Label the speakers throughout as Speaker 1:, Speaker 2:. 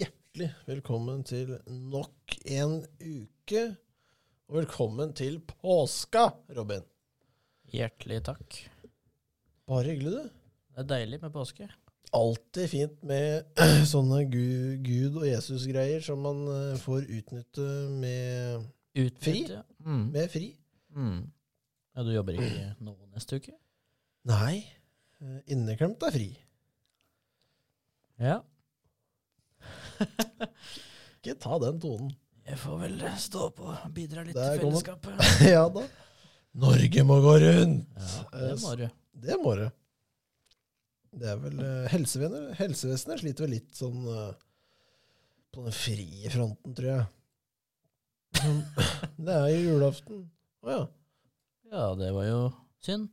Speaker 1: Hjertelig velkommen til nok en uke. Og velkommen til påska, Robin.
Speaker 2: Hjertelig takk.
Speaker 1: Bare hyggelig, du.
Speaker 2: Det er deilig med påske.
Speaker 1: Alltid fint med sånne Gud, Gud og Jesus-greier som man eh, får utnytte med,
Speaker 2: Utbytte.
Speaker 1: Fri?
Speaker 2: Mm.
Speaker 1: med fri.
Speaker 2: Mm. Ja, du jobber ikke nå neste uke?
Speaker 1: Nei, eh, inneklemt er fri.
Speaker 2: Ja.
Speaker 1: Ikke ta den tonen.
Speaker 2: Jeg får vel stå på og bidra litt
Speaker 1: Der
Speaker 2: til
Speaker 1: kom den.
Speaker 2: fellesskapet.
Speaker 1: ja da. Norge må gå rundt! Eh,
Speaker 2: Ja, det må du.
Speaker 1: Det må det. Det er vel eh, helsevesenet, helsevesenet sliter vel litt sånn eh, på den frie fronten, tror jeg. Men det er jo julaften. Å ja.
Speaker 2: Ja, det var jo synd.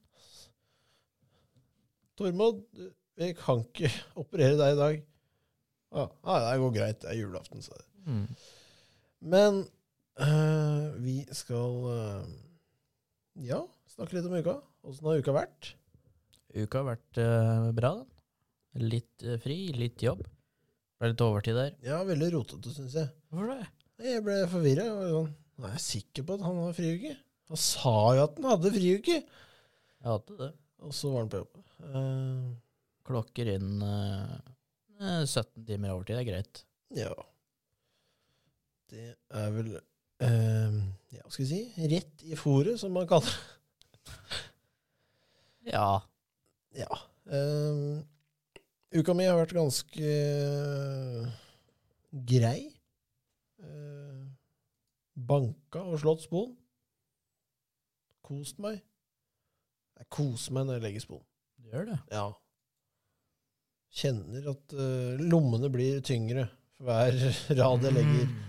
Speaker 1: Tormod, du- vi kan ikke operere deg i dag. Å Ja, ah, det går greit. Det er julaften, sa jeg.
Speaker 2: Mm.
Speaker 1: Men eh, vi skal eh, ja, snakke litt om uka. Åssen har uka vært?
Speaker 2: Uka har vært eh, bra, den. Litt eh, fri, litt jobb. Ble litt overtid der.
Speaker 1: Ja, veldig rotete, syns jeg.
Speaker 2: Hvorfor det?
Speaker 1: Jeg ble forvirra. Sånn, er jeg sikker på at han har friuke? Han sa jo at han hadde friuke!
Speaker 2: Jeg hadde det.
Speaker 1: Og så var han på jobb. Eh,
Speaker 2: Klokker inn eh, eh, 17 timer overtid er greit.
Speaker 1: ja. Det er vel eh, Ja, hva skal vi si? Rett i fòret, som man kaller det.
Speaker 2: Ja.
Speaker 1: Ja. Eh, uka mi har vært ganske eh, grei. Eh, banka og slått spon. Kost meg. Jeg koser meg når jeg legger spon.
Speaker 2: Du gjør det.
Speaker 1: Ja. Kjenner at eh, lommene blir tyngre for hver rad jeg legger.
Speaker 2: Mm.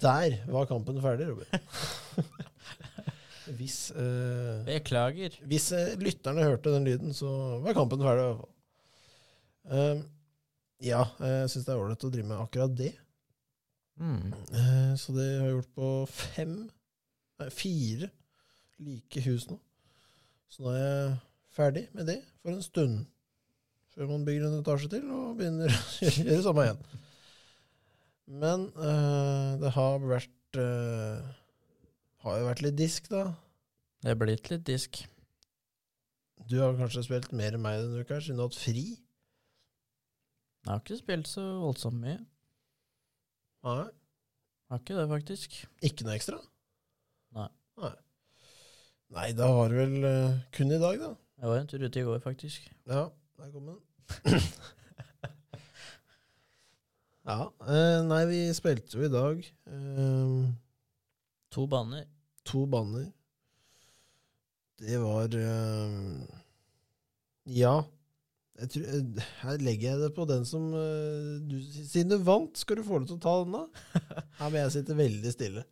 Speaker 1: Der var kampen ferdig, Robin. hvis eh,
Speaker 2: Beklager.
Speaker 1: hvis eh, lytterne hørte den lyden, så var kampen ferdig. i hvert fall. Eh, ja, eh, jeg syns det er ålreit å drive med akkurat det.
Speaker 2: Mm.
Speaker 1: Eh, så det har jeg gjort på fem Nei, fire like hus nå. Så nå er jeg ferdig med det for en stund. Før man bygger en etasje til og begynner å gjøre det samme igjen. Men eh, det har vært eh, Har jo vært litt disk, da.
Speaker 2: Det er blitt litt disk.
Speaker 1: Du har kanskje spilt mer enn meg denne uka, siden du har hatt fri?
Speaker 2: Jeg har ikke spilt så voldsomt mye.
Speaker 1: Nei.
Speaker 2: Jeg Har ikke det, faktisk.
Speaker 1: Ikke noe ekstra?
Speaker 2: Nei.
Speaker 1: Nei, Nei da har du vel eh, kun i dag, da.
Speaker 2: Jeg var en tur ute i går, faktisk.
Speaker 1: Ja, der kom den. ja. eh, nei, vi spilte jo i dag eh,
Speaker 2: To baner.
Speaker 1: to baner. Det var eh, Ja. Jeg tror, eh, her legger jeg det på den som eh, du, Siden du vant, skal du få lov til å ta den, da? Her må jeg sitte veldig stille.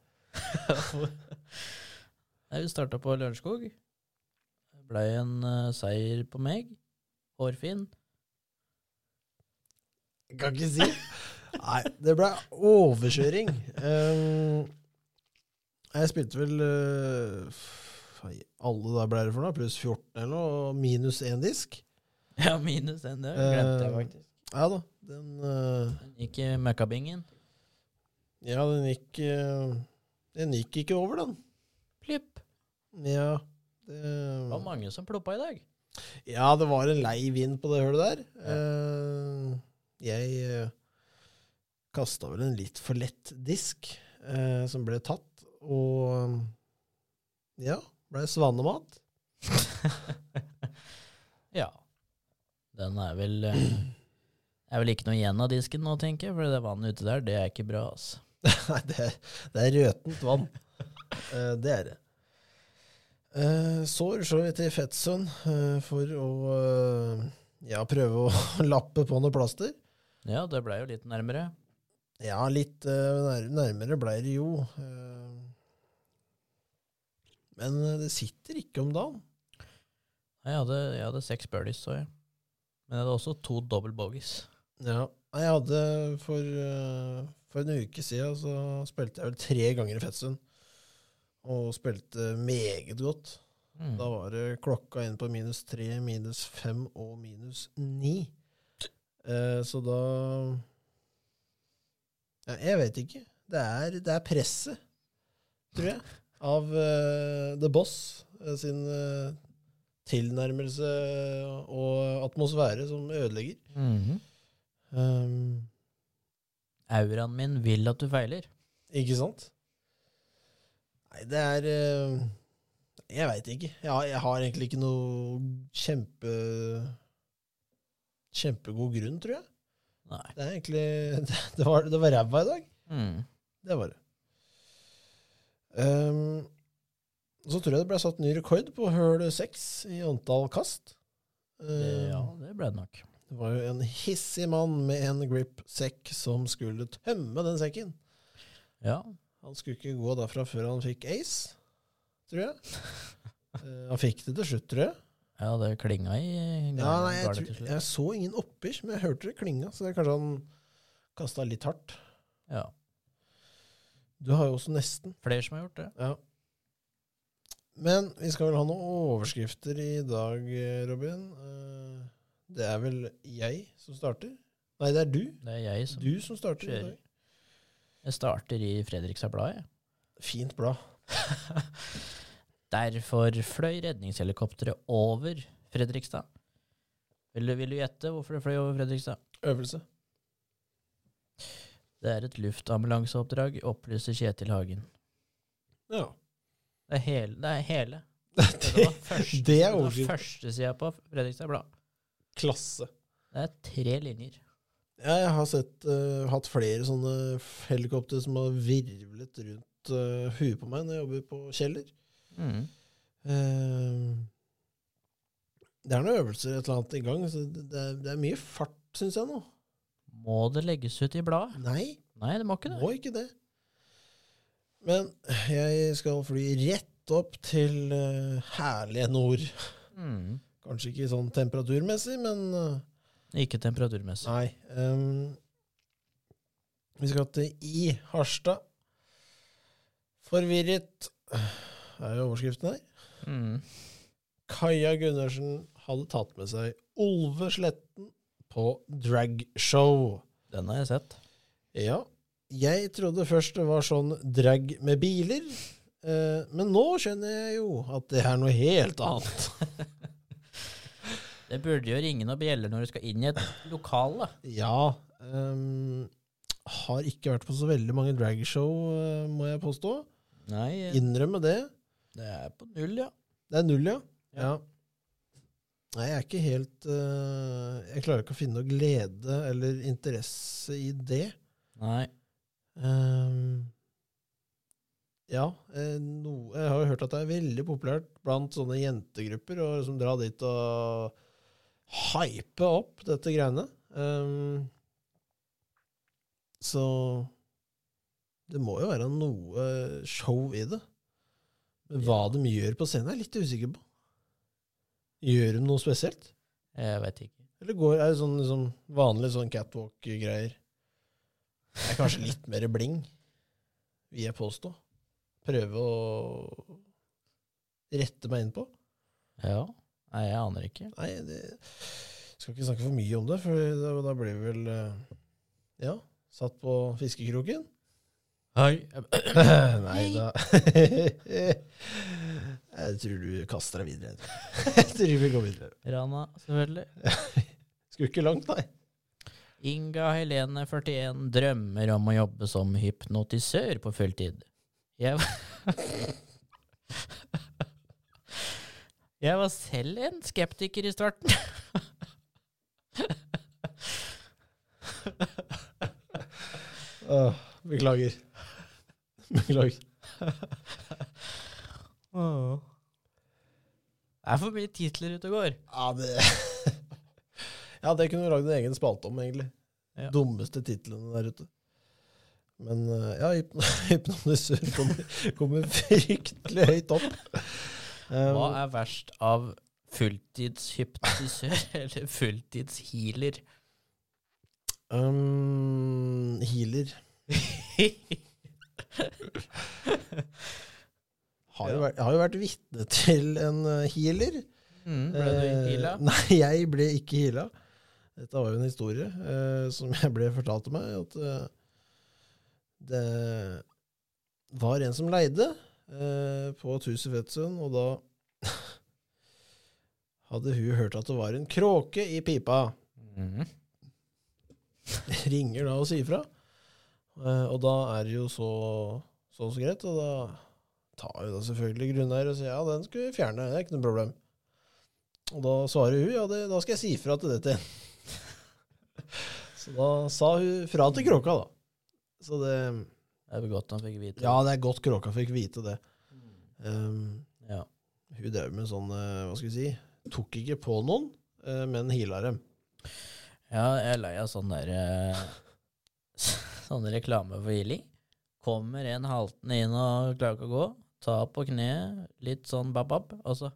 Speaker 2: Nei, vi starta på Lørenskog. Det blei en eh, seier på meg. Hårfin.
Speaker 1: Jeg kan ikke si. Nei, det ble overkjøring. Um, jeg spilte vel eh, f- alle da ble det for noe, pluss 14 eller noe, og minus én disk.
Speaker 2: Ja, minus den. Det glemte jeg
Speaker 1: Eh.
Speaker 2: faktisk.
Speaker 1: Ja da, den, eh,
Speaker 2: Den gikk i møkkabingen.
Speaker 1: ja, den gikk eh, Den gikk ikke over, den.
Speaker 2: Plipp.
Speaker 1: Ja,
Speaker 2: Det var
Speaker 1: det,
Speaker 2: mange som ploppa i dag.
Speaker 1: ja, det var en lei vind på det hølet der. Eh, jeg uh, kasta vel en litt for lett disk, eh, som ble tatt, og eh, ja, ble svanemat.
Speaker 2: Ja. Den er vel eh, er vel ikke noe igjen av disken nå, tenker jeg, for det vannet ute der, det er ikke bra, altså.
Speaker 1: Nei, det er, det er røtent vann. Eh, det er det. Eh, så rusler vi til Fettsund eh, for å eh, ja, prøve å lappe på noe plaster.
Speaker 2: Ja, det blei jo litt nærmere.
Speaker 1: Ja, litt eh, nær, nærmere ble det jo. eh. men eh, det sitter ikke om dagen.
Speaker 2: Nei, Jeg hadde, jeg hadde seks birdies, så jeg. Men jeg hadde også to double bogies.
Speaker 1: Ja. Nei, Jeg hadde for, eh, for en uke siden så spilte jeg vel tre ganger i Fettsund. Og spilte meget godt.
Speaker 2: Mm.
Speaker 1: Da var det klokka inn på minus tre, minus fem og minus ni. Eh, så da Ja, jeg vet ikke. Det er, det er presset, tror jeg, av eh, The Boss eh, sin eh, tilnærmelse og atmosfære som ødelegger. Um,
Speaker 2: Auraen min vil at du feiler.
Speaker 1: ikke sant? Nei, det er eh, Jeg veit ikke. Jeg har, jeg har egentlig ikke noe kjempe kjempegod grunn, tror jeg.
Speaker 2: Nei.
Speaker 1: Det er egentlig Det var, det var ræva i dag.
Speaker 2: Mm.
Speaker 1: Det var det. Ehm, så tror jeg det ble satt ny rekord på høl seks i antall kast. Ehm,
Speaker 2: Det, ja, det ble det nok.
Speaker 1: Det var jo en hissig mann med en grip-sekk som skulle tømme den sekken.
Speaker 2: Ja.
Speaker 1: Han skulle ikke gå derfra før han fikk ace, tror jeg. Eh, han fikk det til slutt, tror jeg.
Speaker 2: ja, det klinga i
Speaker 1: Ja, nei, jeg,
Speaker 2: garnet til
Speaker 1: tror,
Speaker 2: slutt.
Speaker 1: jeg så ingen oppi, men jeg hørte det klinga, så det er kanskje han kasta litt hardt.
Speaker 2: Ja.
Speaker 1: Du har jo også nesten.
Speaker 2: Flere som har gjort det.
Speaker 1: Ja. Men vi skal vel ha noen overskrifter i dag, eh, Robin. Eh, Det er vel jeg som starter? Nei, det er du.
Speaker 2: Det er jeg som
Speaker 1: Du som starter. i
Speaker 2: kjører.
Speaker 1: dag.
Speaker 2: Jeg starter i Fredrikstad Blad, jeg.
Speaker 1: Fint blad.
Speaker 2: Derfor fløy redningshelikopteret over Fredrikstad. Vil du, vil du gjette hvorfor det fløy over Fredrikstad?
Speaker 1: Øvelse.
Speaker 2: Det er et luftambulanseoppdrag, opplyser Kjetil Hagen.
Speaker 1: Ja.
Speaker 2: Det er hele. Det er, hele. Det
Speaker 1: Det
Speaker 2: var første,
Speaker 1: det er
Speaker 2: det var
Speaker 1: overskrift.
Speaker 2: førstesida på Fredrikstad Blad.
Speaker 1: klasse.
Speaker 2: Det er tre linjer.
Speaker 1: Ja, jeg har sett, eh, hatt flere sånne helikoptre som har virvlet rundt eh, huet på meg når jeg jobber på Kjeller.
Speaker 2: Mm.
Speaker 1: Eh, det er noen øvelser et eller annet i gang, så det, det, er, det er mye fart, syns jeg nå.
Speaker 2: Må det legges ut i bladet?
Speaker 1: Nei.
Speaker 2: Nei, det må ikke det.
Speaker 1: Må ikke det. Men jeg skal fly rett opp til eh, herlige nord.
Speaker 2: Mm.
Speaker 1: Kanskje ikke sånn temperaturmessig, men eh,
Speaker 2: Ikke temperaturmessig.
Speaker 1: nei. ehm, vi skal til I Harstad. Forvirret er jo overskriften her.
Speaker 2: Mm.
Speaker 1: Kaja Gundersen hadde tatt med seg Olve Sletten på dragshow.
Speaker 2: Den har jeg sett.
Speaker 1: Ja, jeg trodde først det var sånn drag med biler, eh, men nå skjønner jeg jo at det er noe helt annet.
Speaker 2: Det burde jo ringe noen bjeller når du skal inn i et lokale.
Speaker 1: Ja, ehm, har ikke vært på så veldig mange dragshow, eh, må jeg påstå.
Speaker 2: Nei,
Speaker 1: Innrømme det.
Speaker 2: det er på null, ja.
Speaker 1: Det er null, ja.
Speaker 2: Ja.
Speaker 1: ja. Nei, jeg er ikke helt eh, Jeg klarer ikke å finne noe glede eller interesse i det.
Speaker 2: Nei.
Speaker 1: Ehm, ja, eh, no, jeg har jo hørt at det er veldig populært blant sånne jentegrupper å liksom dra dit og hype opp dette greiene. Ehm, så det må jo være noe show i det. Men hva
Speaker 2: Ja.
Speaker 1: de gjør på scenen, er jeg litt usikker på. Gjør de noe spesielt?
Speaker 2: Jeg veit ikke.
Speaker 1: Eller går, er det sånn liksom, vanlig sånn catwalk-greier? Det er kanskje litt mer bling, vil jeg påstå. Prøve å rette meg inn på.
Speaker 2: Ja. Nei, jeg aner ikke.
Speaker 1: Nei, det, skal ikke snakke for mye om det, for da, da blir vi vel eh, Ja, satt på fiskekroken.
Speaker 2: Hei.
Speaker 1: Nei da. Jeg tror du kaster deg videre. Jeg tror vi går videre.
Speaker 2: Rana, selvfølgelig.
Speaker 1: Skulle ikke langt, nei.
Speaker 2: Inga Helene, 41, drømmer om å jobbe som hypnotisør på fulltid. Jeg var Jeg var selv en skeptiker i starten.
Speaker 1: Åh, beklager. Beklager.
Speaker 2: Det er for mye titler ute og går.
Speaker 1: Ja, det Ja, det kunne vi lagd en egen spalte om, egentlig.
Speaker 2: Ja.
Speaker 1: Dummeste titlene der ute. Men eh, ja, hypno- hypnotisør kommer, kommer fryktelig høyt opp. Um,
Speaker 2: Hva er verst av fulltidshypnotisør eller fulltidshealer?
Speaker 1: um, healer. Har jo,
Speaker 2: Ja.
Speaker 1: vært, har jo vært vitne til en eh, healer.
Speaker 2: Mm, ble du
Speaker 1: Eh,
Speaker 2: heala?
Speaker 1: Nei, jeg ble ikke heala. Dette var jo en historie eh, som jeg ble fortalt til meg. At eh, Det var en som leide eh, på et hus i Fetsund, og da hadde hun hørt at det var en kråke i pipa.
Speaker 2: Mhm.
Speaker 1: ringer da og sier fra. Eh, Og da er det jo så, så, så greit, og da tar jo da selvfølgelig grunneier og sier ja, den skal vi fjerne, det er ikke noe problem. Og da svarer hun ja, det, da skal jeg si fra til dette. så da sa hun fra til kråka, da. Så det
Speaker 2: Det er vel godt han fikk vite
Speaker 1: Ja, det er godt kråka fikk vite det. Um,
Speaker 2: Ja.
Speaker 1: hun drev med sånn, eh, hva skal vi si, tok ikke på noen, eh, men heala dem.
Speaker 2: Ja, jeg er lei av sånn der eh, Sånne reklame for healing. Kommer en haltende inn og klarer ikke å gå. Ta på kneet, litt sånn bab-bab, og så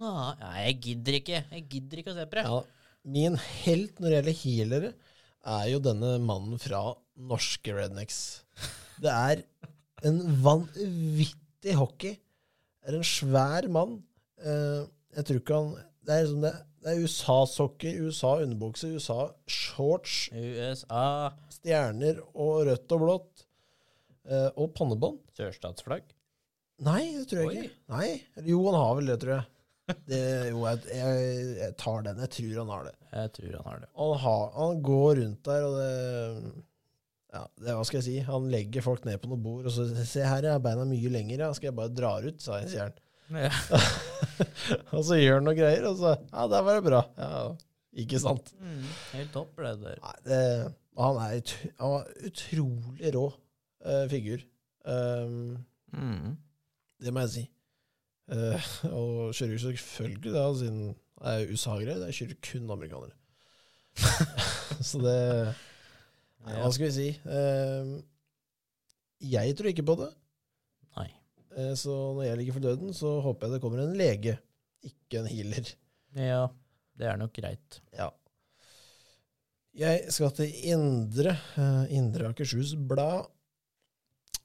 Speaker 2: Nei, jeg gidder ikke. Jeg gidder ikke å se på det.
Speaker 1: Ja, min helt når det gjelder healere, er jo denne mannen fra norske Rednecks. Det er en vanvittig hockey. Det er en svær mann. Eh, jeg tror ikke han Det er, liksom det, det er USA-sokker, USA-underbukse, USA-shorts,
Speaker 2: USA,
Speaker 1: stjerner og rødt og blått. Eh, og pannebånd.
Speaker 2: sørstatsflagg.
Speaker 1: Nei, det tror jeg
Speaker 2: Oi.
Speaker 1: ikke. Nei. Eller Jo, han har vel det, tror jeg. Det, jo, jeg, jeg, jeg tar den. Jeg tror han har det.
Speaker 2: Jeg tror han har det.
Speaker 1: Han, har, han går rundt der, og det ja, det, er- Hva skal jeg si? Han legger folk ned på noe bord, og så Se her, ja, beina er mye lengre, ja. Skal jeg bare dra ut, sa jeg, sier han.
Speaker 2: Ja.
Speaker 1: og så gjør han noe greier, og så Ja, der var det bra. Ja, ikke sant?
Speaker 2: Mm, helt topp ble det der.
Speaker 1: Nei, det, han er ut, han var utrolig rå eh, figur. Um,
Speaker 2: Mm.
Speaker 1: det må jeg si. Eh, og kjører jo selvfølgelig da, siden det er USA-greier. Det kjører kun amerikanere. så det Nei, hva
Speaker 2: Ja. altså.
Speaker 1: skal vi si? Ehm, jeg tror ikke på det.
Speaker 2: Nei.
Speaker 1: Eh, Så når jeg ligger for døden, så håper jeg det kommer en lege, ikke en healer.
Speaker 2: ja, det er nok greit.
Speaker 1: Ja. Jeg skal til Indre, eh, Indre Akershus Blad.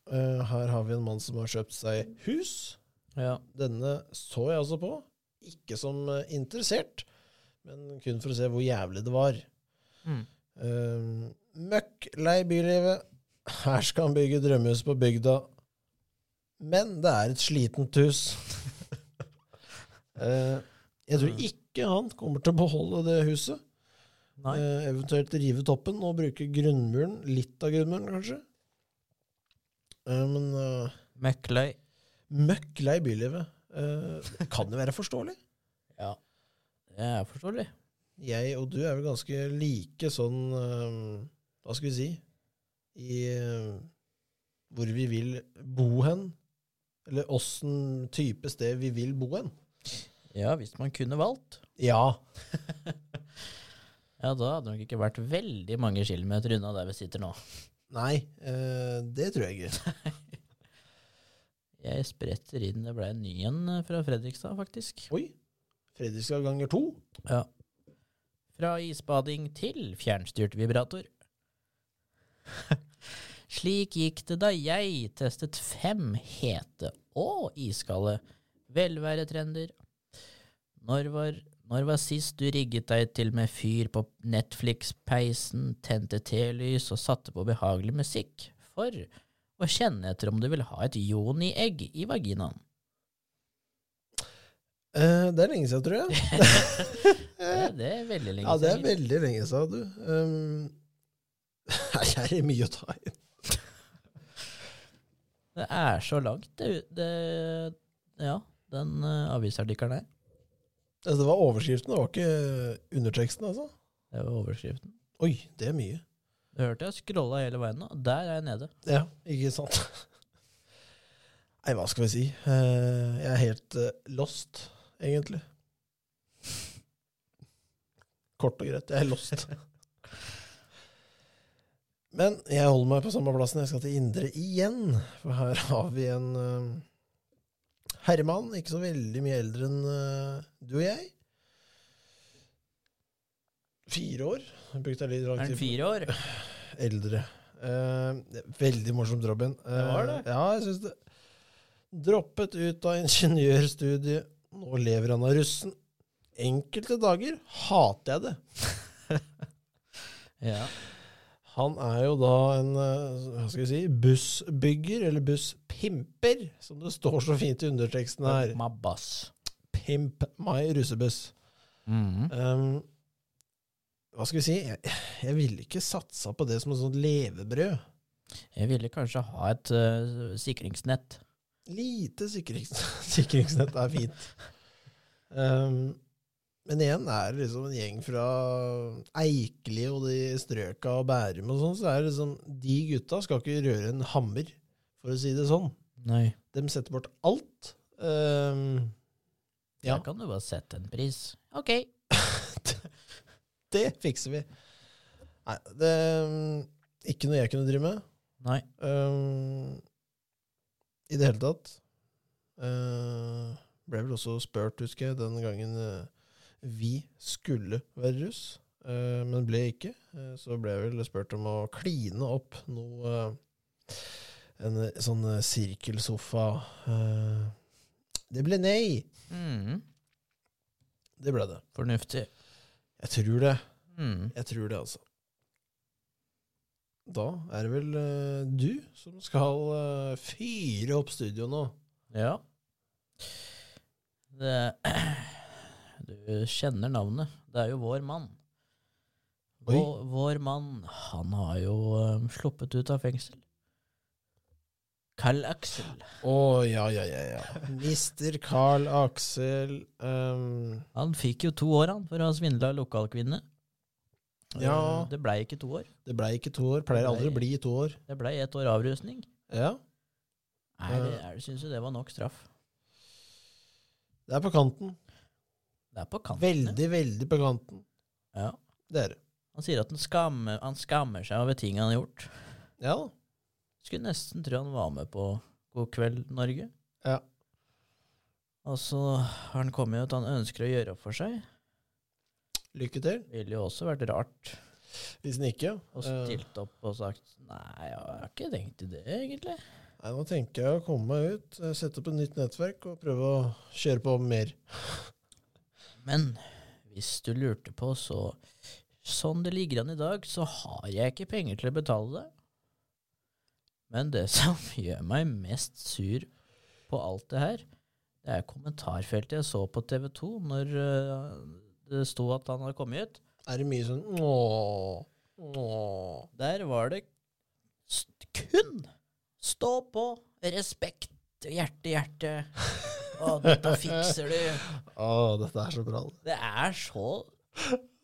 Speaker 1: Eh, Her har vi en mann som har kjøpt seg hus.
Speaker 2: Ja.
Speaker 1: Denne så jeg altså på. Ikke som eh, interessert, men kun for å se hvor jævlig det var.
Speaker 2: Mm.
Speaker 1: Uh, møkk lei bylivet. Her skal han bygge drømmehus på bygda. Men det er et slitent hus. Eh, jeg tror ikke han kommer til å beholde det huset.
Speaker 2: Nei.
Speaker 1: Eh, eventuelt rive toppen og bruke grunnmuren. Litt av grunnmuren, kanskje. Eh, men eh,
Speaker 2: Møkkløy.
Speaker 1: møkk lei bylivet. Eh, det kan jo være forståelig.
Speaker 2: Ja. Det er forståelig.
Speaker 1: Jeg og du er vel ganske like sånn eh, Hva skal vi si I eh, hvor vi vil bo hen. Eller åssen type sted vi vil bo hen.
Speaker 2: Ja, hvis man kunne valgt.
Speaker 1: Ja.
Speaker 2: Ja, da hadde det nok ikke vært veldig mange kilometer unna der vi sitter nå.
Speaker 1: Nei, eh, det tror jeg ikke.
Speaker 2: Jeg spretter inn, det ble en ny en eh, fra Fredrikstad, faktisk.
Speaker 1: Oi. Fredrikstad ganger to.
Speaker 2: Ja. Fra isbading til fjernstyrt vibrator. Slik gikk det da jeg testet fem hete og iskalde velværetrender. Når var, når var sist du rigget deg til med fyr på Netflix-peisen, tente telys og satte på behagelig musikk for å kjenne etter om du vil ha et joni-egg i vaginaen?
Speaker 1: Eh, det er lenge siden, tror jeg.
Speaker 2: Det, det er veldig lenge
Speaker 1: Ja, det er
Speaker 2: siden.
Speaker 1: veldig lenge siden, du. Um, her er det mye å ta i.
Speaker 2: Det er så langt, det, det Ja, den uh, avisartikkelen her.
Speaker 1: Altså, det var overskriften, det var ikke underteksten, altså.
Speaker 2: Det var overskriften.
Speaker 1: Oi, det er mye.
Speaker 2: Du hørte jeg scrolla hele veien nå. Der er jeg nede.
Speaker 1: Ja, ikke sant? Nei, hva skal vi si? Eh, Jeg er helt eh, lost, egentlig. Kort og greit, jeg er lost. Men jeg holder meg på samme plassen. Jeg skal til Indre igjen. For her har vi en eh, herremann, ikke så veldig mye eldre enn eh, du og jeg. Fire år. Jeg brukte litt lang
Speaker 2: Er
Speaker 1: tid
Speaker 2: den
Speaker 1: på-
Speaker 2: fire år?
Speaker 1: eldre. Eh, det er veldig morsomt, Robin. Eh,
Speaker 2: Det var det.
Speaker 1: Ja, jeg synes det. Droppet ut av ingeniørstudiet. Nå lever han av russen. Enkelte dager hater jeg det.
Speaker 2: Ja.
Speaker 1: Han er jo da en eh, hva skal vi si, bussbygger, eller busspimper, som det står så fint i underteksten her.
Speaker 2: Mabbas.
Speaker 1: Pimp my russebuss.
Speaker 2: Mhm.
Speaker 1: Ehm, hva skal vi si? Jeg, jeg ville ikke satsa på det som et sånt levebrød.
Speaker 2: Jeg ville kanskje ha et eh, sikringsnett.
Speaker 1: Lite sikrings sikringsnett er fint. Ehm, men igjen er det liksom en gjeng fra Eikeli og de strøka og Bærum og sånn, så er det liksom De gutta skal ikke røre en hammer, for å si det sånn.
Speaker 2: Nei.
Speaker 1: De setter bort alt. Ehm,
Speaker 2: Ja.
Speaker 1: Ja.
Speaker 2: Der kan du bare sette en pris. Ok.
Speaker 1: det fikser vi. Nei, det um, Ikke noe jeg kunne drive med.
Speaker 2: Nei.
Speaker 1: Ehm, I det hele tatt. Eh, ble vel også spurt, husker jeg, den gangen eh, vi skulle være russ, eh, men ble ikke. Eh, så ble jeg vel spurt om å kline opp noe eh, En eh, sånn eh, sirkelsofa eh, Det ble nei!
Speaker 2: Mhm.
Speaker 1: Det ble det.
Speaker 2: Fornuftig.
Speaker 1: Jeg tror det.
Speaker 2: Mhm.
Speaker 1: Jeg tror det, altså. Da er det vel eh, du som skal eh, fyre opp studio nå.
Speaker 2: Ja. Det, du kjenner navnet. Det er jo vår mann.
Speaker 1: Oi.
Speaker 2: Vår, vår mann, han har jo eh, sluppet ut av fengsel. Carl Axel.
Speaker 1: Å, ja, ja, ja, ja. Mister Carl Aksel ehm,
Speaker 2: Han fikk jo to år, han, for å ha svindla lokalkvinne.
Speaker 1: Ja.
Speaker 2: Eh, Det blei ikke to år.
Speaker 1: Det blei ikke to år. Pleier aldri å bli to år.
Speaker 2: Det blei ett år avrusning.
Speaker 1: Ja.
Speaker 2: Er det,
Speaker 1: Ja.
Speaker 2: er det, syns du det var nok straff?
Speaker 1: Det er på kanten.
Speaker 2: Det er på kanten. det.
Speaker 1: Veldig, veldig på kanten.
Speaker 2: Ja.
Speaker 1: Det er det.
Speaker 2: Han sier at han skammer, han skammer seg over ting han har gjort.
Speaker 1: Ja da.
Speaker 2: Skulle nesten tro han var med på God kveld, Norge.
Speaker 1: Ja.
Speaker 2: Og så har han kommet ut, han ønsker å gjøre opp for seg.
Speaker 1: Lykke til.
Speaker 2: Ville jo også vært rart
Speaker 1: Hvis den ikke eh,
Speaker 2: å stilt opp og sagt Nei, jeg har ikke tenkt i det, egentlig.
Speaker 1: eh, Nei, nå tenker jeg å komme meg ut, eh, sette opp et nytt nettverk og prøve å kjøre på mer.
Speaker 2: Men hvis du lurte på, så Sånn det ligger an i dag, så har jeg ikke penger til å betale det. Men det som gjør meg mest sur på alt det her, det er kommentarfeltet jeg så på TV 2 når øh, det sto at han hadde kommet ut.
Speaker 1: Er det mye sånn ååå, ååå
Speaker 2: Der var det st kun stå på, respekt, hjerte, hjerte. Å, dette fikser du.
Speaker 1: Å, dette er så bra.
Speaker 2: Det er så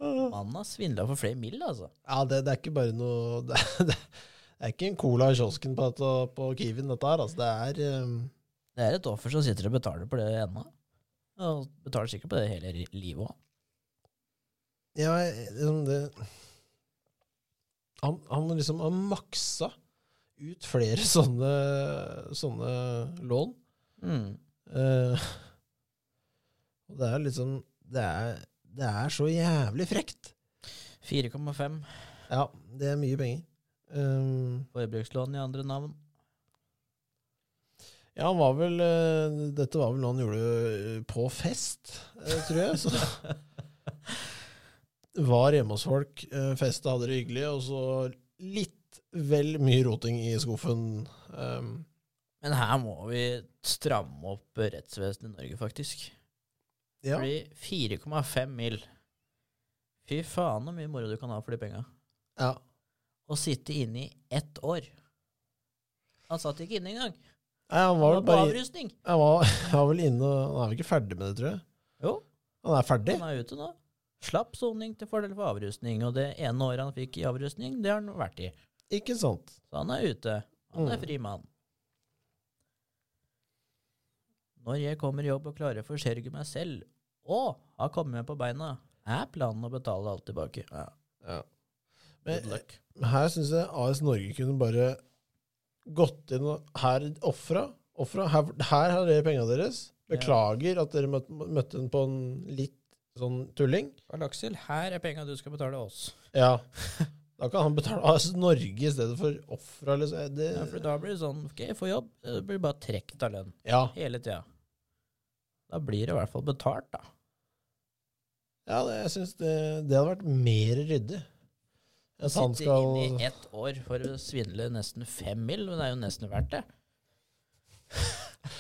Speaker 2: Mannen har svindla for flere mill, altså.
Speaker 1: Ja, det, det er ikke bare noe Det, det, det er ikke en cola i kiosken på, dette- på Kiwien, dette her. Altså, det er um,
Speaker 2: Det er et offer som sitter og betaler på det ennå. Og betaler sikkert på det hele ri- livet òg.
Speaker 1: Ja, liksom det Han, han liksom har maksa ut flere sånne, sånne lån. Mm. Eh, Og det er liksom det er, det er så jævlig frekt.
Speaker 2: 4,5
Speaker 1: Ja, det er mye penger. Um,
Speaker 2: forbrukslån i andre navn.
Speaker 1: Ja, han var vel eh, Dette var vel noe han gjorde eh, på fest, eh, tror jeg. Så. Var hjemme hos folk, eh, festa, hadde det hyggelig, og så litt vel mye roting i skuffen. Um,
Speaker 2: Men her må vi stramme opp rettsvesenet i Norge, faktisk.
Speaker 1: ja.
Speaker 2: Fordi 4,5 mill. Fy faen så mye moro du kan ha for de penga.
Speaker 1: ja.
Speaker 2: Å sitte inne i ett år. Han satt ikke inne engang.
Speaker 1: Nei, han var
Speaker 2: Han var
Speaker 1: vel
Speaker 2: på
Speaker 1: bare
Speaker 2: avrusning.
Speaker 1: han var, han var vel inne og Han er vel ikke ferdig med det, tror jeg.
Speaker 2: Jo,
Speaker 1: Han er ferdig?
Speaker 2: han er ute nå. Slapp soning til fordel for avrusning, og det ene året han fikk i avrusning, det har han vært i.
Speaker 1: Ikke sant?
Speaker 2: Så han er ute. Han er
Speaker 1: Mm.
Speaker 2: fri mann. Når jeg kommer i jobb og klarer å forsørge meg selv, og har kommet meg på beina, er planen å betale alt tilbake. Ja,
Speaker 1: Ja.
Speaker 2: good
Speaker 1: Men
Speaker 2: luck.
Speaker 1: her syns jeg AS Norge kunne bare gått inn og Her ofra. ofra her, her har dere penga deres. Beklager at dere møtte, møtte den på en litt sånn tulling.
Speaker 2: Karl Aksel, eh, her er penga du skal betale oss.
Speaker 1: Ja. Da kan han betale AS Norge i stedet for ofra. Liksom. Det,
Speaker 2: Ja, for da blir det sånn OK, få jobb. Det blir bare trukket av lønn
Speaker 1: ja.
Speaker 2: hele tida. Da blir det i hvert fall betalt, da.
Speaker 1: ja, det, jeg syns det, det hadde vært mer ryddig At han
Speaker 2: Sitte
Speaker 1: skal
Speaker 2: inne i ett år for å svindle nesten fem mil, men det er jo nesten verdt det.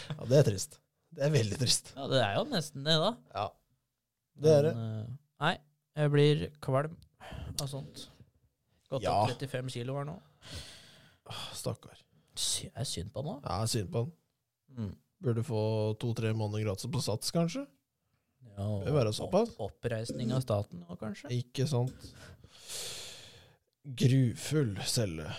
Speaker 1: Ja, det er trist. Det er veldig trist.
Speaker 2: Ja, det er jo nesten det, da.
Speaker 1: Ja. Det er det.
Speaker 2: Men, eh, nei, jeg blir kvalm av sånt. Gått
Speaker 1: Ja.
Speaker 2: opp 35 kilo her nå. eh,
Speaker 1: Åh, Stakkar.
Speaker 2: Sy er synd på han, da.
Speaker 1: Ja, synd på han.
Speaker 2: Mm.
Speaker 1: Burde få to-tre måneder gratis på Sats, kanskje?
Speaker 2: Ja, og
Speaker 1: Det være såpass.
Speaker 2: opp- Oppreisning av staten nå, kanskje.
Speaker 1: Ikke sant? Grufull celle.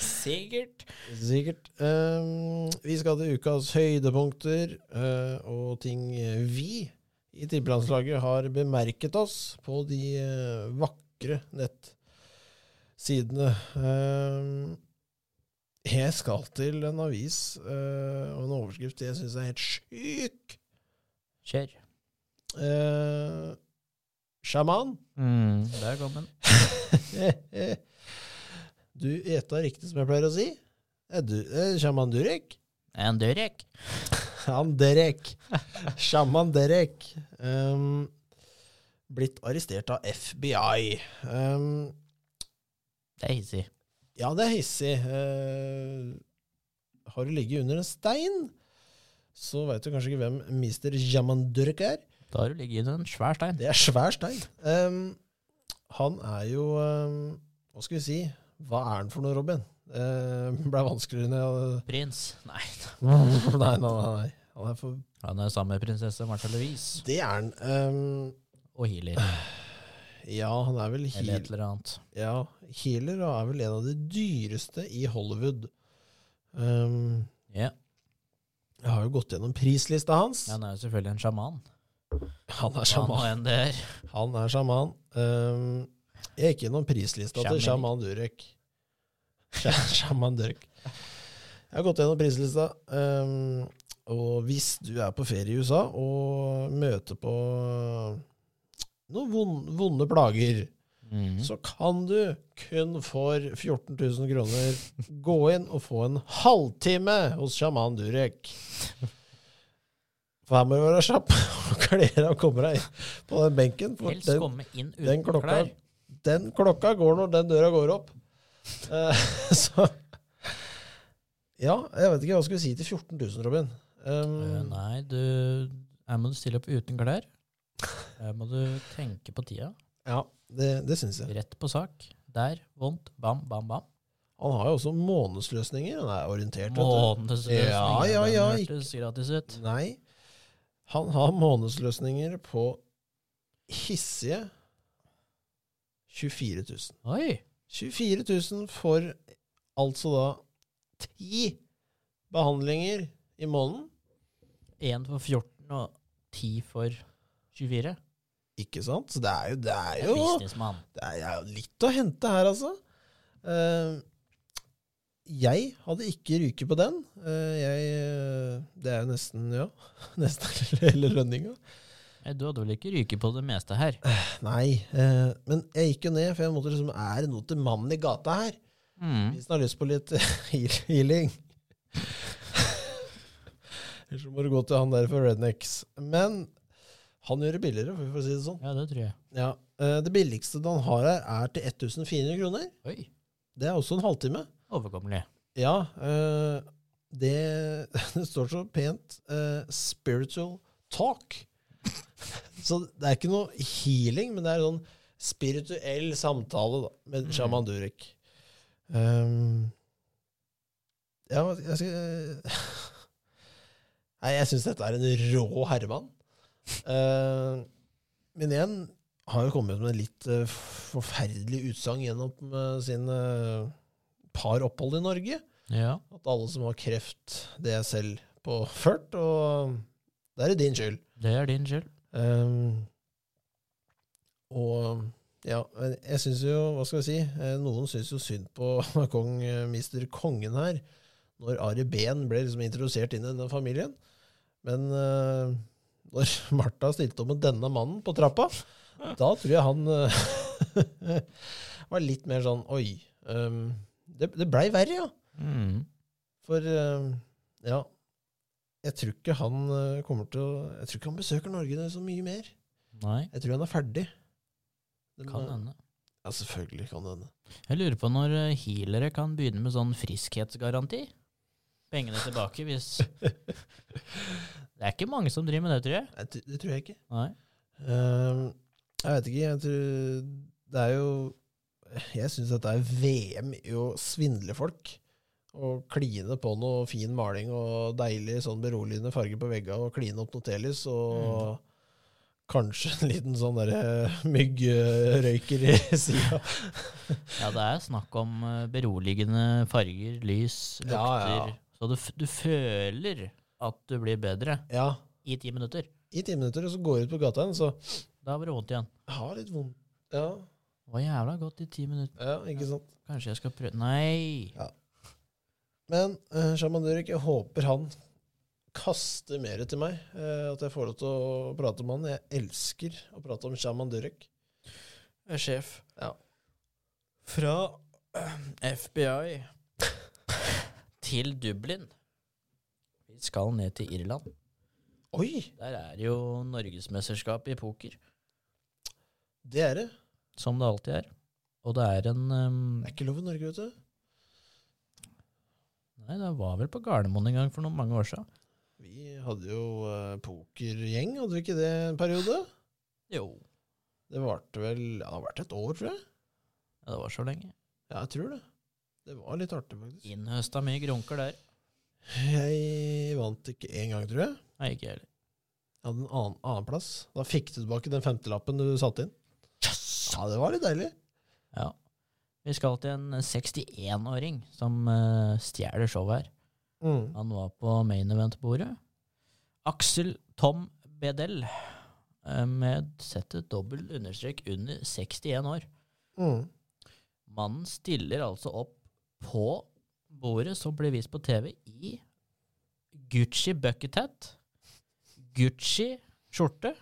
Speaker 2: Sikkert.
Speaker 1: Sikkert. Ehm, vi skal til ukas høydepunkter eh, og ting vi i tippelandslaget har bemerket oss på de eh, vakre nettsidene. Ehm, jeg skal til en avis eh, og en overskrift jeg syns er helt syk.
Speaker 2: Kjør.
Speaker 1: Eh, Sjaman.
Speaker 2: Der kom den.
Speaker 1: du eta riktig, som jeg pleier å si. Er du, eh, sjaman Durek?
Speaker 2: En dørek.
Speaker 1: Han Derek. Sjaman Derek. Um, blitt arrestert av FBI. Um,
Speaker 2: Det er hissig.
Speaker 1: ja, det er hissig. Eh, har du ligget under en stein, så veit du kanskje ikke hvem Mr. Jaman Derek er.
Speaker 2: Da har du ligget under en svær stein.
Speaker 1: Det er svær stein. Um, han er jo um, Hva skal vi si? Hva er han for noe, Robin? Uh, Blei vanskeligere når jeg
Speaker 2: Prins. Nei,
Speaker 1: Nei, nei, nei. nei. Han er for
Speaker 2: han er sammen med prinsesse Martha Louise
Speaker 1: Det er han. Um,
Speaker 2: og healer.
Speaker 1: Ah, ja, han er vel
Speaker 2: Eller
Speaker 1: heal...
Speaker 2: et eller annet.
Speaker 1: Ja, healer er vel en av de dyreste i Hollywood. Ehm,
Speaker 2: Ja,
Speaker 1: jeg har jo gått gjennom prislista hans.
Speaker 2: Han er jo selvfølgelig en sjaman.
Speaker 1: Han er
Speaker 2: Hva
Speaker 1: sjaman.
Speaker 2: nå enn det er.
Speaker 1: Han er sjaman. Ehm, jeg gikk gjennom prislista til
Speaker 2: Sjaman.
Speaker 1: sjaman Durek. Sja- Sjaman Durek. Jeg har gått gjennom prislista. ehm, og hvis du er på ferie i USA og møter på noen vond- vonde plager,
Speaker 2: Mm.
Speaker 1: så kan du kun for 14 000 kroner gå inn og få en halvtime hos sjaman Durek. For her må du være kjapp og kle deg og komme deg inn på den benken. For
Speaker 2: Helst
Speaker 1: den,
Speaker 2: komme inn
Speaker 1: den,
Speaker 2: uten
Speaker 1: klokka,
Speaker 2: klær.
Speaker 1: den klokka går når den døra går opp. Eh, så Ja, jeg vet ikke hva jeg skulle si til 14 000, Robin.
Speaker 2: Eh,
Speaker 1: Um,
Speaker 2: nei, du Her må du stille opp uten klær. Her må du tenke på tida.
Speaker 1: ja, det, det syns jeg.
Speaker 2: Rett på sak. Der. Vondt. Bam, bam, bam.
Speaker 1: Han har jo også månedsløsninger. Han er orientert. vet du.
Speaker 2: Månedsløsning.
Speaker 1: Ja, ja, ja,
Speaker 2: Den hørtes gratis ut.
Speaker 1: Nei. Han har månedsløsninger på hissige 24 000.
Speaker 2: Oi!
Speaker 1: 24 000 for altså da ti behandlinger i måneden.
Speaker 2: Én for 14 og ti for 24.
Speaker 1: Ikke sant? Så det er jo, det er
Speaker 2: En
Speaker 1: jo,
Speaker 2: businessmann.
Speaker 1: det er jo litt å hente her, altså. Eh, jeg hadde ikke ryket på den. Eh, jeg, eh, det er jo nesten, ja, nesten hele lønninga.
Speaker 2: Nei, Du hadde vel ikke ryket på det meste her?
Speaker 1: Nei, eh, men jeg gikk jo ned, for jeg måtte liksom Er det noe til mannen i gata her?
Speaker 2: Mm.
Speaker 1: Hvis han har lyst på litt heal- healing. Ellers så må du gå til han der for Rednecks. Men han gjør det billigere, for å si det sånn.
Speaker 2: Ja, det tror jeg.
Speaker 1: Ja, eh, Det billigste han har her, er til 1400 kroner.
Speaker 2: Oi.
Speaker 1: Det er også en halvtime.
Speaker 2: Overkommelig.
Speaker 1: Ja, eh, det, det står så pent eh, 'spiritual talk'. Så det er ikke noe healing, men det er sånn spirituell samtale da, med sjaman Durek. Um, ja, hva- jeg skal Nei, jeg syns dette er en rå herremann. Eh, men igjen har jo kommet ut med litt eh, forferdelig utsagn gjennom eh, sine par opphold i Norge.
Speaker 2: Ja.
Speaker 1: At alle som har kreft, det er selv påført, og det er din skyld.
Speaker 2: Det er din skyld.
Speaker 1: Ehm, og ja, men jeg syns jo, hva skal vi si, eh, noen syns jo synd på kong eh, Mister Kongen her, når Ari Behn ble liksom introdusert inn i denne familien. Men eh, når Martha stilte opp med denne mannen på trappa, da tror jeg han eh, var litt mer sånn oi. ehm, det det blei verre, ja.
Speaker 2: Mm.
Speaker 1: For eh, ja, jeg tror ikke han eh, kommer til å Jeg tror ikke han besøker Norge så mye mer.
Speaker 2: Nei,
Speaker 1: Jeg tror han er ferdig. Den,
Speaker 2: kan
Speaker 1: eh,
Speaker 2: hende.
Speaker 1: Ja, selvfølgelig kan det hende.
Speaker 2: Jeg lurer på når eh, healere kan begynne med sånn friskhetsgaranti. Pengene tilbake hvis Det er ikke mange som driver med det, tror jeg.
Speaker 1: Nei, det, det tror jeg ikke.
Speaker 2: Nei.
Speaker 1: Ehm, jeg vet ikke. Jeg tror Det er jo Jeg syns at det er VM i å svindle folk. Og kline på noe fin maling og deilig sånn beroligende farge på veggene, og kline opp noe telys, og
Speaker 2: Mm.
Speaker 1: kanskje en liten sånn derre myggrøyker i sida.
Speaker 2: Ja, det er snakk om eh, beroligende farger, lys, lukter.
Speaker 1: Ja, ja.
Speaker 2: Så du, f- du føler at du blir bedre
Speaker 1: Ja.
Speaker 2: i ti minutter.
Speaker 1: I ti minutter, og så går jeg ut på gata igjen, så
Speaker 2: Da var det vondt igjen.
Speaker 1: jeg har litt vondt. Ja,
Speaker 2: Det var jævla godt i ti minutter.
Speaker 1: ja ikke sant.
Speaker 2: Kanskje jeg skal prøve Nei!
Speaker 1: Men uh, Shaman Durek, jeg håper han kaster mer til meg. eh, at jeg får lov til å prate om han. Jeg elsker å prate om Shaman Durek.
Speaker 3: er sjef.
Speaker 1: Ja.
Speaker 3: Fra eh, FBI.
Speaker 2: Til Dublin. Vi skal ned til Irland.
Speaker 1: Oi,
Speaker 2: Der er jo norgesmesterskapet i poker.
Speaker 1: det er det.
Speaker 2: som det alltid er. Og det er en ehm,
Speaker 1: Det er ikke lov i Norge, vet du.
Speaker 2: Nei, det var vel på Gardermoen en gang for noen mange år siden.
Speaker 1: Vi hadde jo eh, pokergjeng, hadde vi ikke det en periode?
Speaker 2: Jo.
Speaker 1: Det varte vel ja, det har vært et år, tror jeg.
Speaker 2: Ja, det var så lenge.
Speaker 1: Ja, jeg tror det. Det var litt artig, faktisk.
Speaker 2: Innhøsta mye grunker der.
Speaker 1: Jeg vant ikke én gang, tror jeg.
Speaker 2: Nei, ikke jeg heller.
Speaker 1: Jeg hadde en annen, annen plass. Da fikk du tilbake den femtelappen du satte inn. Ja, det var litt deilig.
Speaker 2: Ja. Vi skal til en 61-åring som eh, stjeler showet her.
Speaker 1: Mm.
Speaker 2: Han var på main event-bordet. Aksel Tom Bedell eh, med settet dobbel understrek under 61 år.
Speaker 1: Mm.
Speaker 2: Mannen stiller altså opp på bordet som blir vist på TV i Gucci bucket hat, Gucci skjorte,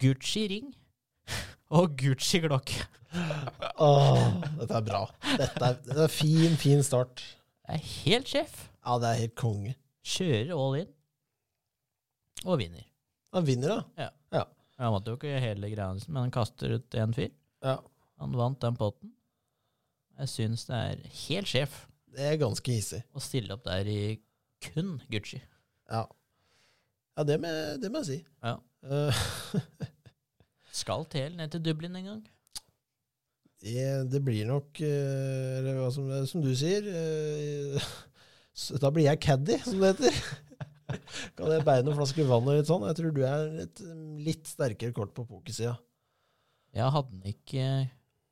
Speaker 2: Gucci ring og Gucci klokke.
Speaker 1: Åh, dette er bra. Dette er, dette er fin, fin start.
Speaker 2: Er helt sjef.
Speaker 1: Ja, det er helt konge.
Speaker 2: Kjører all in og vinner.
Speaker 1: Han vinner, da.
Speaker 2: Han vant jo ikke hele greia, liksom, men han kaster ut en fyr.
Speaker 1: Ja.
Speaker 2: Han vant den potten. Jeg syns det er helt sjef
Speaker 1: Det er ganske hissig.
Speaker 2: å stille opp der i kun Gucci.
Speaker 1: Ja, ja det, må, jeg- det må jeg si.
Speaker 2: Ja.
Speaker 1: Eh,
Speaker 2: Skal TL ned til Dublin en gang?
Speaker 1: det, det blir nok eh, Eller hva som, som du sier eh, så Da blir jeg caddy, som det heter. Kan jeg bære noen flasker vann og litt sånn? Jeg tror du er et mm, litt sterkere kort på pokersida.
Speaker 2: Ja, hadde han ikke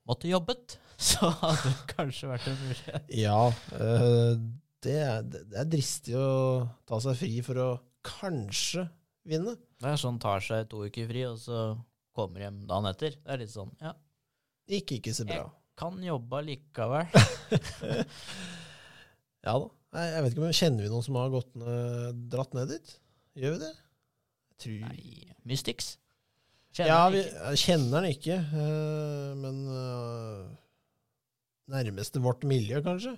Speaker 2: måttet jobbet, så hadde det kanskje vært en mulighet.
Speaker 1: Ja, eh, det er, det er dristig å ta seg fri for å kanskje vinne.
Speaker 2: Det er sånn tar seg to uker fri, og så kommer hjem dagen etter. Det er litt sånn, ja,
Speaker 1: Gikk ikke så bra.
Speaker 2: kan jobbe likevel.
Speaker 1: Ja da. Nei, jeg vet ikke, men Kjenner vi noen som har gått ned, dratt ned dit? Gjør vi det? Jeg tror
Speaker 2: Nei, Mystics. Kjenner
Speaker 1: ja,
Speaker 2: han
Speaker 1: vi
Speaker 2: ikke.
Speaker 1: jeg kjenner den ikke, eh, men eh, Nærmeste vårt miljø, kanskje?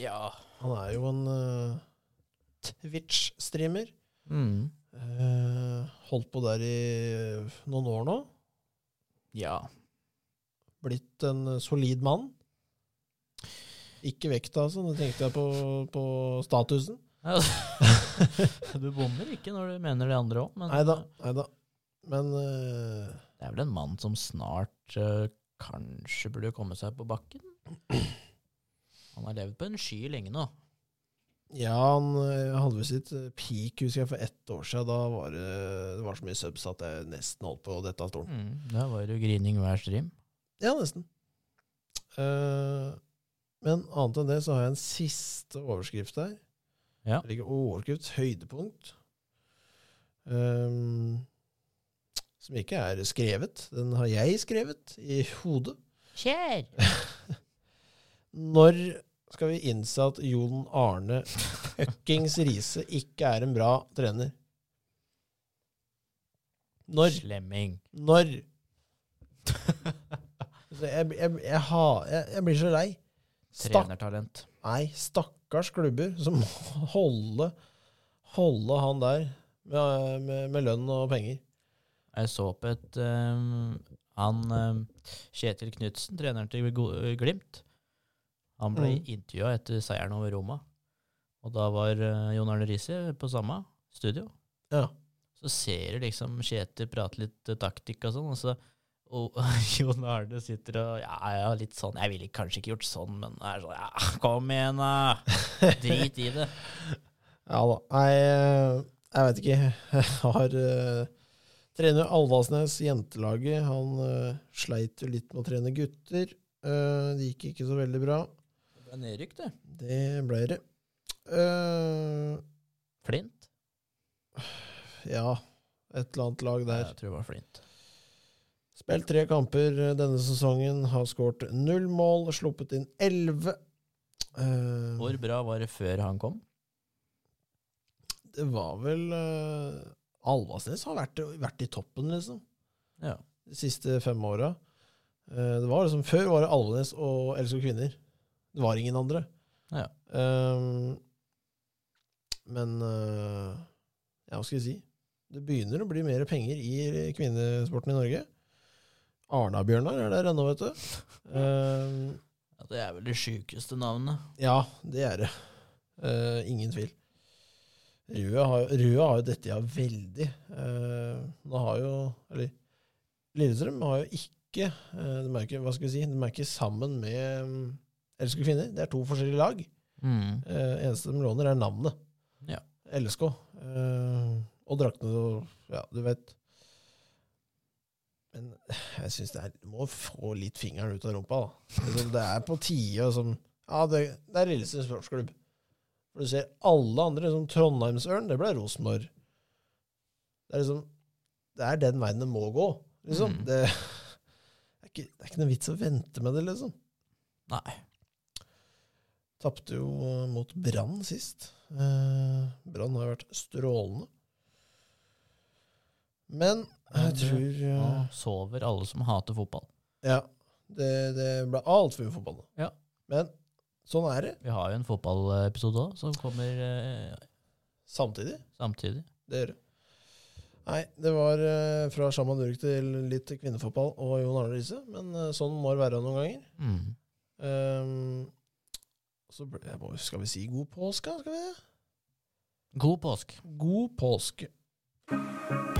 Speaker 2: Ja.
Speaker 1: Han er jo en eh, Twitch-streamer.
Speaker 2: Mm.
Speaker 1: Eh, holdt på der i noen år nå.
Speaker 2: Ja.
Speaker 1: Blitt en solid mann. Ikke vekta, altså. Nå tenkte jeg på, på statusen.
Speaker 2: Du bommer ikke når du mener det andre òg, men
Speaker 1: Nei da. Nei da. Men eh,
Speaker 2: det er vel en mann som snart eh, kanskje burde komme seg på bakken? Han har levd på en sky lenge nå.
Speaker 1: Ja, han eh, hadde vel sitt eh, peak, husker jeg, for ett år siden. Da var det, det var så mye subs at jeg nesten holdt på å dette av stolen.
Speaker 2: Mm. Der var det jo grining hver stream.
Speaker 1: Ja, nesten. Eh, men annet enn det så har jeg en siste overskrift der.
Speaker 2: Ja.
Speaker 1: Eller ikke overskrift, høydepunkt. Ehm, som ikke er skrevet. Den har jeg skrevet i hodet.
Speaker 2: Kjær!
Speaker 1: Når skal vi innse at Jon Arne fuckings Riise ikke er en bra trener? Når?
Speaker 2: Slemming.
Speaker 1: Når? Så jeg, jeg, jeg, har- jeg, jeg blir så lei. Stakk,
Speaker 2: Trenertalent.
Speaker 1: nei, stakkars klubber som må holde, holde han der med, med, med lønn og penger.
Speaker 2: Jeg så på et um, Han, eh, Kjetil Knutsen, treneren til Go- Glimt, han ble
Speaker 1: Mm.
Speaker 2: intervjua etter seieren over Roma. Og da var eh, Jon Arne Riise på samme studio.
Speaker 1: Ja.
Speaker 2: Så ser du liksom Kjetil prate litt eh, taktikk og sånn, og så og Jon Arne sitter og ja, ja, litt sånn Jeg ville kanskje ikke gjort sånn, men er sånn, ja, kom igjen, da! Drit i det.
Speaker 1: Ja da. Nei, eh, jeg vet ikke. Jeg har eh, Trener Alvasnes, jentelaget, han eh, sleit jo litt med å trene gutter. Eh, det gikk ikke så veldig bra.
Speaker 2: Det er nedrykk, det.
Speaker 1: Det ble det. Eh,
Speaker 2: Flint.
Speaker 1: ja, et eller annet lag der.
Speaker 2: Jeg tror det var Flint.
Speaker 1: Spilt tre kamper eh, denne sesongen, har skåret null mål, sluppet inn elleve. Eh,
Speaker 2: Hvor bra var det før han kom?
Speaker 1: det var vel eh, Alvasnes har vært, vært i toppen, liksom.
Speaker 2: Ja.
Speaker 1: de siste fem åra. Eh, Det var liksom, før var det Alvenes og Elsker kvinner. Det var ingen andre.
Speaker 2: Ja.
Speaker 1: Ehm, men eh, ja, hva skal jeg si? Det begynner å bli mer penger i kvinnesporten i Norge. Arna-Bjørnar er der ennå, vet du. Ehm,
Speaker 2: Ja, det er vel det sjukeste navnet.
Speaker 1: ja, det er det. Eh, ingen tvil. Røa har, Røa har jo dette ja veldig. Eh, nå har jo Eller Lillestrøm har jo ikke eh, De er ikke, hva skal vi si, de er ikke sammen med um, Elsker kvinner. Det er to forskjellige lag. Eh, eneste de låner, er navnet.
Speaker 2: Ja.
Speaker 1: LSK. Eh, og draktene og Ja, du vet. Men jeg syns det er Du må få litt fingeren ut av rumpa, da. Liksom, Det er på tide å som Ja, det, det er Lillestrøm sportsklubb. For du ser alle andre, som Trondheimsørn, det ble Rosenborg. Det er liksom Det er den veien det må gå, liksom.
Speaker 2: Mm.
Speaker 1: Det, det, er ikke, det er ikke noe vits å vente med det, liksom.
Speaker 2: Nei.
Speaker 1: Tapte jo mot Brann sist. Eh, Brann har vært strålende. Men jeg tror
Speaker 2: Nå
Speaker 1: eh,
Speaker 2: sover alle som hater fotball.
Speaker 1: Ja. Det, det ble altfor mye fotball nå.
Speaker 2: Ja.
Speaker 1: Men sånn er det.
Speaker 2: Vi har jo en fotballepisode òg, som kommer eh,
Speaker 1: Samtidig.
Speaker 2: samtidig.
Speaker 1: Det gjør det. Nei, det var eh, fra Shaman Durek til litt kvinnefotball og Jon Arne Riise. Men eh, sånn må det være noen ganger.
Speaker 2: Mm.
Speaker 1: Ehm, så ble, jeg må- skal vi si god påske, skal vi det?
Speaker 2: God påsk.
Speaker 1: God påske.